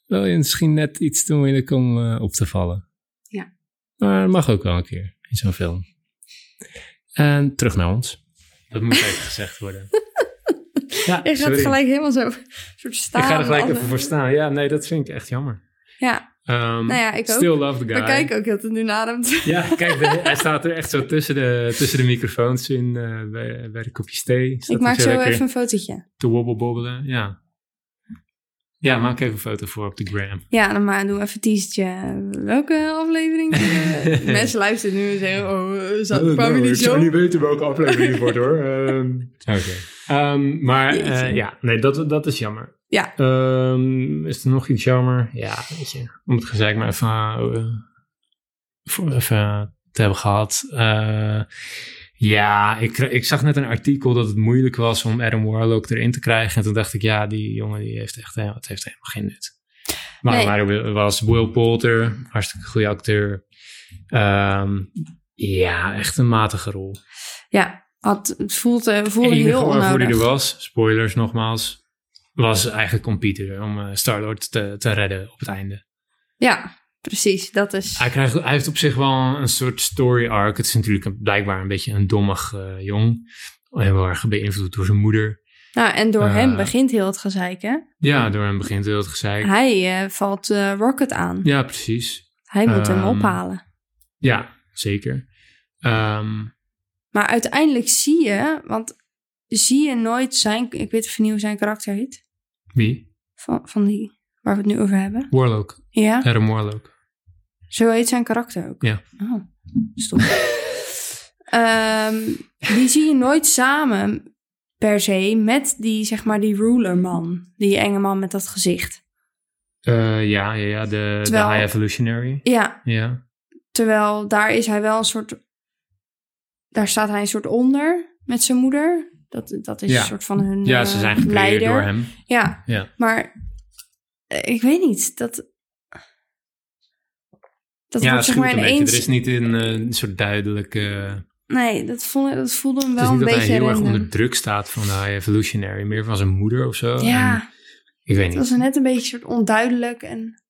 [SPEAKER 1] wel misschien net iets te moeilijk om eh, op te vallen.
[SPEAKER 2] Ja.
[SPEAKER 1] Maar mag ook wel een keer in zo'n film. En terug naar ons. Dat moet even gezegd worden. Ja,
[SPEAKER 2] Ik ga het
[SPEAKER 1] sorry.
[SPEAKER 2] gelijk helemaal zo soort staan.
[SPEAKER 1] Ik ga er gelijk
[SPEAKER 2] Alle-
[SPEAKER 1] even voor staan. Ja, nee, dat vind ik echt jammer.
[SPEAKER 2] Ja,
[SPEAKER 1] Ehm,
[SPEAKER 2] nou ja, ik ook.
[SPEAKER 1] still love the guy.
[SPEAKER 2] Maar kijk ook dat het nu nademt.
[SPEAKER 1] Ja, kijk, de- hij staat er echt zo tussen de, tussen de microfoons in eh, bij, bij de kopjes thee. Staat
[SPEAKER 2] Ik
[SPEAKER 1] hij
[SPEAKER 2] maak zo
[SPEAKER 1] lekker
[SPEAKER 2] even een fotootje.
[SPEAKER 1] te wobbelbobbelen, ja. Ja, maak even een foto voor op de gram.
[SPEAKER 2] Ja, dan maar doe even een teasertje. Welke aflevering? eh, Mensen luisteren nu en zeggen, oh, eh, zou-
[SPEAKER 1] nou,
[SPEAKER 2] kwamen jullie zo?
[SPEAKER 1] weten welke aflevering het wordt hoor. Oké. Ehm, maar eh,
[SPEAKER 2] Jeetje.
[SPEAKER 1] ja, nee, dat, dat is jammer.
[SPEAKER 2] Ja.
[SPEAKER 1] Ehm, is er nog iets jammer? Ja, weet je. Om het gezeik maar even, eh, voor even te hebben gehad. Eh, ja, ik, kre- ik zag net een artikel dat het moeilijk was om Adam Warlock erin te krijgen. En toen dacht ik, ja, die jongen die heeft echt helemaal, het heeft helemaal geen nut. Maar
[SPEAKER 2] Nee.
[SPEAKER 1] maar er was Will Poulter, hartstikke goede acteur. Ehm, ja, echt een matige rol.
[SPEAKER 2] Ja, had, het voelt, eh, voelde
[SPEAKER 1] Het enige
[SPEAKER 2] heel
[SPEAKER 1] waarvoor hij er
[SPEAKER 2] onnodig.
[SPEAKER 1] was, spoilers nogmaals, was eigenlijk om Peter, om eh, Star-Lord te, te redden op het einde.
[SPEAKER 2] Ja, precies. Dat is...
[SPEAKER 1] Hij, krijgt, hij heeft op zich wel een soort story arc. Het is natuurlijk een- blijkbaal een beetje een dommig eh, jong. Heel erg beïnvloed door zijn moeder.
[SPEAKER 2] Nou, en door
[SPEAKER 1] Eh,
[SPEAKER 2] hem begint heel het gezeik, hè?
[SPEAKER 1] Ja, door hem begint heel het gezeik.
[SPEAKER 2] Hij eh, valt eh, Rocket aan.
[SPEAKER 1] Ja, precies.
[SPEAKER 2] Hij moet hem
[SPEAKER 1] Ehm,
[SPEAKER 2] ophalen.
[SPEAKER 1] Ja, zeker. Ehm,
[SPEAKER 2] Maar uiteindelijk zie je, want zie je nooit zijn... Ik weet even niet hoe zijn karakter heet.
[SPEAKER 1] wie?
[SPEAKER 2] Van, van die waar we het nu over hebben.
[SPEAKER 1] Warlock.
[SPEAKER 2] Ja,
[SPEAKER 1] Adam Warlock.
[SPEAKER 2] zo heet zijn karakter ook.
[SPEAKER 1] Ja.
[SPEAKER 2] Oh, stom. Ehm, die zie je nooit samen per se met die, zeg maar, die rulerman. Die enge man met dat gezicht.
[SPEAKER 1] Eh, ja, ja, ja de,
[SPEAKER 2] Terwijl-
[SPEAKER 1] de High Evolutionary.
[SPEAKER 2] Ja,
[SPEAKER 1] Ja.
[SPEAKER 2] Terwijl daar is hij wel een soort. Daar staat hij een soort onder met zijn moeder. Dat, dat is
[SPEAKER 1] Ja.
[SPEAKER 2] een soort van hun.
[SPEAKER 1] ja,
[SPEAKER 2] eh,
[SPEAKER 1] ze zijn gecreëerd
[SPEAKER 2] leider.
[SPEAKER 1] door hem.
[SPEAKER 2] Ja.
[SPEAKER 1] Ja.
[SPEAKER 2] Maar eh, ik weet niet. Dat. Dat
[SPEAKER 1] ja,
[SPEAKER 2] wordt
[SPEAKER 1] het
[SPEAKER 2] zeg
[SPEAKER 1] schuurt
[SPEAKER 2] maar
[SPEAKER 1] een beetje.
[SPEAKER 2] ineens.
[SPEAKER 1] Er is niet een, eh, een soort duidelijke...
[SPEAKER 2] Nee, dat, vond, dat voelde hem
[SPEAKER 1] het
[SPEAKER 2] wel
[SPEAKER 1] is niet
[SPEAKER 2] een
[SPEAKER 1] dat hij
[SPEAKER 2] beetje.
[SPEAKER 1] heel erg
[SPEAKER 2] random.
[SPEAKER 1] onder druk staat van de High Evolutionary. Meer van zijn moeder of zo.
[SPEAKER 2] ja,
[SPEAKER 1] En ik weet
[SPEAKER 2] het
[SPEAKER 1] niet.
[SPEAKER 2] was net een beetje een soort onduidelijk. En,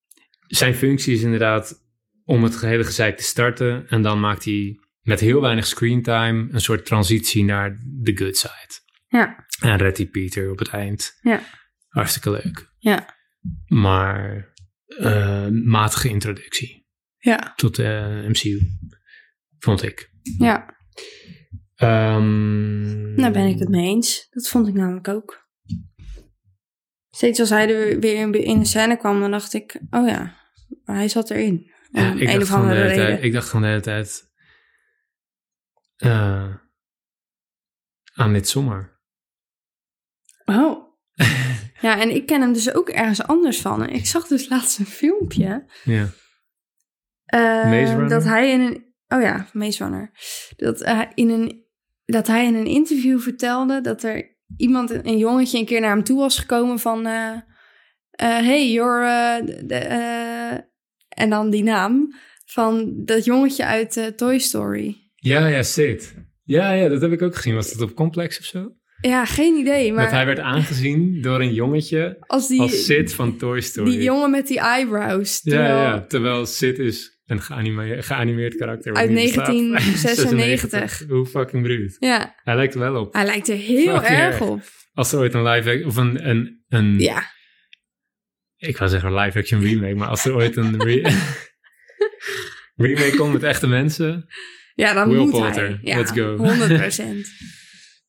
[SPEAKER 1] Zijn functie is inderdaad om het hele gezeik te starten. En dan maakt hij met heel weinig screentime een soort transitie naar de good side.
[SPEAKER 2] ja,
[SPEAKER 1] En redt hij Peter op het eind.
[SPEAKER 2] Ja.
[SPEAKER 1] Hartstikke leuk.
[SPEAKER 2] Ja.
[SPEAKER 1] Maar eh, matige introductie
[SPEAKER 2] ja,
[SPEAKER 1] tot eh, de MCU. Vond ik.
[SPEAKER 2] ja.
[SPEAKER 1] Ehm,
[SPEAKER 2] Daar ben ik het mee eens. Dat vond ik namelijk ook. Steeds als hij er weer in, in de scène kwam, dan dacht ik, oh ja, hij zat erin. Om
[SPEAKER 1] Ja, ik,
[SPEAKER 2] een
[SPEAKER 1] dacht
[SPEAKER 2] of
[SPEAKER 1] gewoon de
[SPEAKER 2] andere
[SPEAKER 1] hele tijd,
[SPEAKER 2] reden.
[SPEAKER 1] ik dacht gewoon de hele tijd eh, aan dit zomaar.
[SPEAKER 2] Oh. ja, en ik ken hem dus ook ergens anders van. En ik zag dus laatst een filmpje.
[SPEAKER 1] Ja.
[SPEAKER 2] eh,
[SPEAKER 1] Maze Runner?
[SPEAKER 2] dat hij in een. Oh ja, Maze Runner. Dat, hij in een, dat hij in een interview vertelde dat er iemand, een jongetje, een keer naar hem toe was gekomen van. eh, eh, hey, you're. eh, de- de, eh, en dan die naam van dat jongetje uit eh, Toy Story.
[SPEAKER 1] ja, ja, zit. Ja, ja, dat heb ik ook gezien. Was dat op Complex of zo?
[SPEAKER 2] Ja, geen idee. Maar
[SPEAKER 1] Dat hij werd aangezien door een jongetje
[SPEAKER 2] als die,
[SPEAKER 1] als Sid van Toy Story.
[SPEAKER 2] die jongen met die eyebrows.
[SPEAKER 1] ja,
[SPEAKER 2] terwijl-
[SPEAKER 1] ja, terwijl Sid is een geanime- geanimeerd karakter. wat
[SPEAKER 2] Uit
[SPEAKER 1] niet bestaat.
[SPEAKER 2] 1996.
[SPEAKER 1] 96. Hoe fucking bruut.
[SPEAKER 2] ja.
[SPEAKER 1] Hij lijkt er wel op.
[SPEAKER 2] Hij lijkt er heel
[SPEAKER 1] Fucking
[SPEAKER 2] erg
[SPEAKER 1] erg. Hm.
[SPEAKER 2] op.
[SPEAKER 1] Als er ooit een live of een, een, een
[SPEAKER 2] Ja.
[SPEAKER 1] Ik wou zeggen live action remake, maar als er ooit een re- remake komt met echte mensen.
[SPEAKER 2] Ja, dan
[SPEAKER 1] Will
[SPEAKER 2] moet hij.
[SPEAKER 1] Poulter,
[SPEAKER 2] Ja,
[SPEAKER 1] let's go.
[SPEAKER 2] 100%.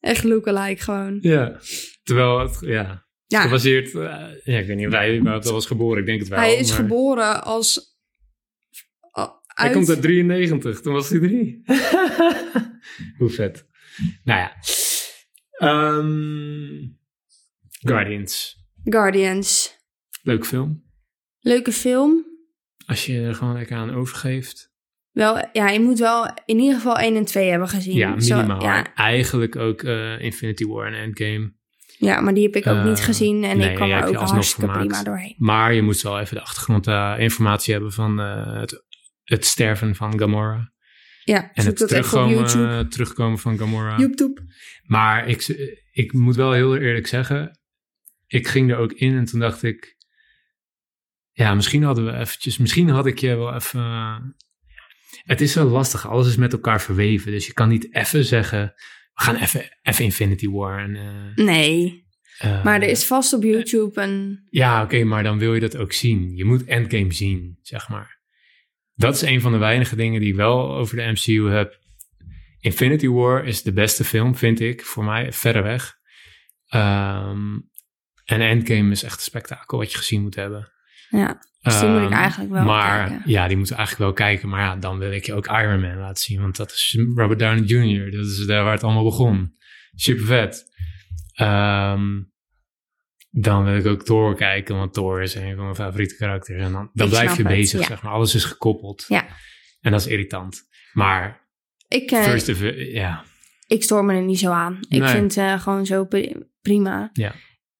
[SPEAKER 2] Echt lookalike gewoon.
[SPEAKER 1] Ja. Terwijl het, ja,
[SPEAKER 2] Ja,
[SPEAKER 1] gebaseerd, eh, ja, ik weet niet of hij überhaupt al was geboren, ik denk het wel.
[SPEAKER 2] hij is
[SPEAKER 1] maar-
[SPEAKER 2] geboren als... a-
[SPEAKER 1] Hij
[SPEAKER 2] uit-
[SPEAKER 1] komt uit 93, toen was hij drie. Hoe vet. Nou ja. Ehm, Guardians,
[SPEAKER 2] Guardians.
[SPEAKER 1] leuk film.
[SPEAKER 2] Leuke film.
[SPEAKER 1] Als je er gewoon lekker aan overgeeft.
[SPEAKER 2] Wel, ja, je moet wel in ieder geval 1 en 2 hebben gezien.
[SPEAKER 1] Ja,
[SPEAKER 2] Zo-
[SPEAKER 1] minimaal.
[SPEAKER 2] ja,
[SPEAKER 1] Eigenlijk ook eh, Infinity War en Endgame.
[SPEAKER 2] ja, maar die heb ik ook
[SPEAKER 1] Eh,
[SPEAKER 2] niet gezien. En
[SPEAKER 1] nee,
[SPEAKER 2] ik kwam
[SPEAKER 1] jij
[SPEAKER 2] er
[SPEAKER 1] hebt
[SPEAKER 2] ook
[SPEAKER 1] je alsnog
[SPEAKER 2] hartstikke
[SPEAKER 1] vermaakt.
[SPEAKER 2] prima doorheen.
[SPEAKER 1] Maar je moet wel even de achtergrondinformatie hebben van eh, het, het sterven van Gamora.
[SPEAKER 2] Ja,
[SPEAKER 1] En het
[SPEAKER 2] zoek dat even op
[SPEAKER 1] terugkomen, eh,
[SPEAKER 2] YouTube.
[SPEAKER 1] terugkomen van Gamora.
[SPEAKER 2] YouTube.
[SPEAKER 1] Maar ik, z- ik moet wel heel eerlijk zeggen, ik ging er ook in en toen dacht ik, ja, misschien hadden we eventjes, misschien had ik je wel even... Het is wel lastig, alles is met elkaar verweven. Dus je kan niet even zeggen, we gaan even, even Infinity War en... eh,
[SPEAKER 2] Nee.
[SPEAKER 1] Eh,
[SPEAKER 2] Maar er is vast op YouTube een...
[SPEAKER 1] Ja, oké, maar dan wil je dat ook zien. Je moet Endgame zien, zeg maar. Dat is een van de weinige dingen die ik wel over de MCU heb. Infinity War is de beste film, vind ik, voor mij, verreweg. Ehm en Endgame is echt een spektakel wat je gezien moet hebben.
[SPEAKER 2] Ja, dus die moet ik
[SPEAKER 1] Ehm,
[SPEAKER 2] eigenlijk wel
[SPEAKER 1] maar,
[SPEAKER 2] kijken.
[SPEAKER 1] Ja, die moeten we eigenlijk wel kijken. Maar ja, dan wil ik je ook Iron Man laten zien. Want dat is Robert Downey Jr. Dat is daar waar het allemaal begon. Super vet. Ehm, dan wil ik ook Thor kijken. Want Thor is een van mijn favoriete karakters. En dan, dan
[SPEAKER 2] Ik
[SPEAKER 1] blijf
[SPEAKER 2] snap
[SPEAKER 1] je
[SPEAKER 2] het,
[SPEAKER 1] bezig,
[SPEAKER 2] ja.
[SPEAKER 1] zeg maar. Alles is gekoppeld.
[SPEAKER 2] Ja.
[SPEAKER 1] En dat is irritant. Maar
[SPEAKER 2] Ik, eh,
[SPEAKER 1] First of... Ja,
[SPEAKER 2] ik stoor me er niet zo aan. Ik
[SPEAKER 1] Nee.
[SPEAKER 2] vind eh gewoon zo pri- prima.
[SPEAKER 1] Ja.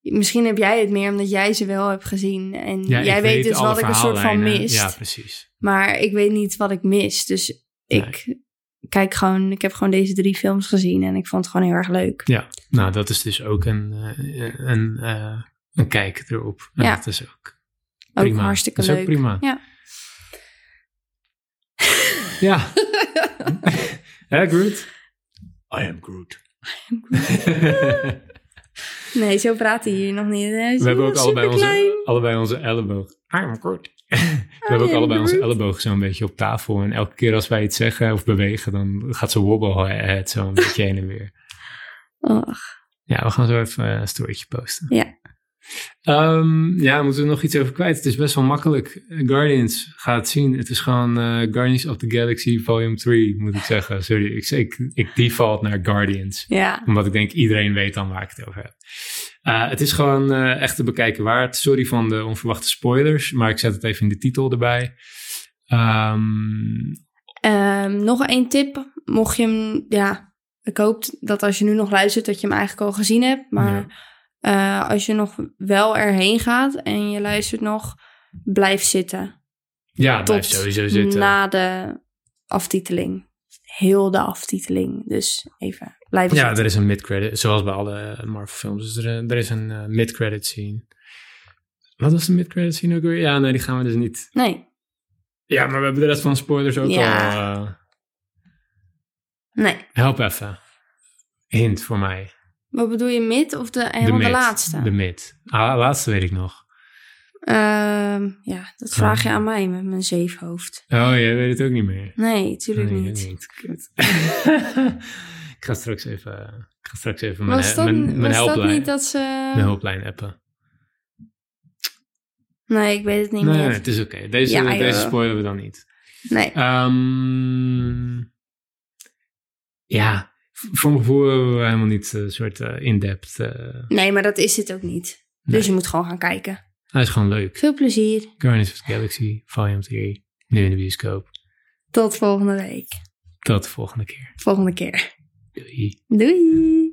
[SPEAKER 2] Misschien heb jij het meer omdat jij ze wel hebt gezien. En
[SPEAKER 1] ja
[SPEAKER 2] jij
[SPEAKER 1] ik
[SPEAKER 2] weet dus
[SPEAKER 1] alle
[SPEAKER 2] wat ik een soort van
[SPEAKER 1] verhaallijnen.
[SPEAKER 2] mist.
[SPEAKER 1] Ja, precies.
[SPEAKER 2] Maar ik weet niet wat ik mis. Dus ik kijk gewoon, ik heb gewoon deze drie films gezien en ik vond het gewoon heel erg leuk.
[SPEAKER 1] Nou, dat is dus ook een, eh, een, eh, een kijk erop. En
[SPEAKER 2] Ja.
[SPEAKER 1] dat is ook
[SPEAKER 2] Ook
[SPEAKER 1] prima.
[SPEAKER 2] hartstikke
[SPEAKER 1] Dat is
[SPEAKER 2] leuk.
[SPEAKER 1] ook prima.
[SPEAKER 2] Ja.
[SPEAKER 1] ja. Hè, Groot? I am Groot.
[SPEAKER 2] Nee, zo praat hij hier nog niet.
[SPEAKER 1] We hebben ook allebei onze, allebei onze elleboog. I am Groot. We hebben ook
[SPEAKER 2] am
[SPEAKER 1] allebei onze
[SPEAKER 2] Groot.
[SPEAKER 1] elleboog zo'n beetje op tafel. En elke keer als wij iets zeggen of bewegen, dan gaat ze wobble het zo'n beetje heen en weer.
[SPEAKER 2] Och,
[SPEAKER 1] Ja, we gaan zo even eh, een storytje posten.
[SPEAKER 2] Ja.
[SPEAKER 1] Ehm, ja, moeten we nog iets over kwijt? Het is best wel makkelijk. Eh, Guardians, ga het zien. Het is gewoon eh, Guardians of the Galaxy Volume 3, moet ik zeggen. Sorry, ik, ik, ik default naar Guardians.
[SPEAKER 2] ja.
[SPEAKER 1] Omdat ik denk, iedereen weet dan waar ik het over heb. Eh, het is gewoon eh, echt te bekijken waard. Sorry van de onverwachte spoilers, maar ik zet het even in de titel erbij. Ehm,
[SPEAKER 2] Ehm, nog één tip. Mocht je hem, ja, ik hoop dat als je nu nog luistert dat je hem eigenlijk al gezien hebt. Maar eh, als je nog wel erheen gaat en je luistert nog, blijf zitten.
[SPEAKER 1] ja,
[SPEAKER 2] Tot
[SPEAKER 1] blijf sowieso zitten.
[SPEAKER 2] Na de aftiteling. Heel de aftiteling. Dus even blijf
[SPEAKER 1] Ja,
[SPEAKER 2] zitten.
[SPEAKER 1] er is een mid-credit, zoals bij alle Marvel-films. Dus er, er is een eh, mid-credit scene. Wat was de mid-credit scene ook weer? Ja, nee, die gaan we dus niet.
[SPEAKER 2] Nee,
[SPEAKER 1] Ja, maar we hebben de rest van de spoilers ook
[SPEAKER 2] Ja.
[SPEAKER 1] al. eh,
[SPEAKER 2] nee.
[SPEAKER 1] help even. Hint voor mij.
[SPEAKER 2] Wat bedoel je, mid of de,
[SPEAKER 1] de,
[SPEAKER 2] helemaal de,
[SPEAKER 1] mid.
[SPEAKER 2] laatste?
[SPEAKER 1] De mid. Ah, laatste weet ik nog.
[SPEAKER 2] Ehm, ja, dat vraag je
[SPEAKER 1] Ah.
[SPEAKER 2] aan mij met mijn zeefhoofd.
[SPEAKER 1] Oh, jij weet het ook niet meer.
[SPEAKER 2] Nee, tuurlijk
[SPEAKER 1] Nee,
[SPEAKER 2] niet.
[SPEAKER 1] ik
[SPEAKER 2] Kut.
[SPEAKER 1] ik ga straks even, ik ga straks even mijn,
[SPEAKER 2] Was dat,
[SPEAKER 1] mijn, mijn
[SPEAKER 2] was dat
[SPEAKER 1] helplijn,
[SPEAKER 2] niet eh, dat ze...
[SPEAKER 1] mijn helplijn appen.
[SPEAKER 2] Nee, ik weet het niet
[SPEAKER 1] Nee,
[SPEAKER 2] meer.
[SPEAKER 1] het is oké. Deze,
[SPEAKER 2] Ja, joh.
[SPEAKER 1] deze spoilen we dan niet.
[SPEAKER 2] Nee,
[SPEAKER 1] Ehm, ja, v- voor mijn gevoel hebben we helemaal niet een soort eh, in-depth. eh,
[SPEAKER 2] nee, maar dat is het ook niet.
[SPEAKER 1] Nee.
[SPEAKER 2] Dus je moet gewoon gaan kijken.
[SPEAKER 1] hij is gewoon leuk.
[SPEAKER 2] Veel plezier.
[SPEAKER 1] Guardians of the Galaxy, Volume 3, nu in de bioscoop.
[SPEAKER 2] Tot volgende week.
[SPEAKER 1] Tot de volgende keer.
[SPEAKER 2] Volgende keer.
[SPEAKER 1] Doei.
[SPEAKER 2] Doei!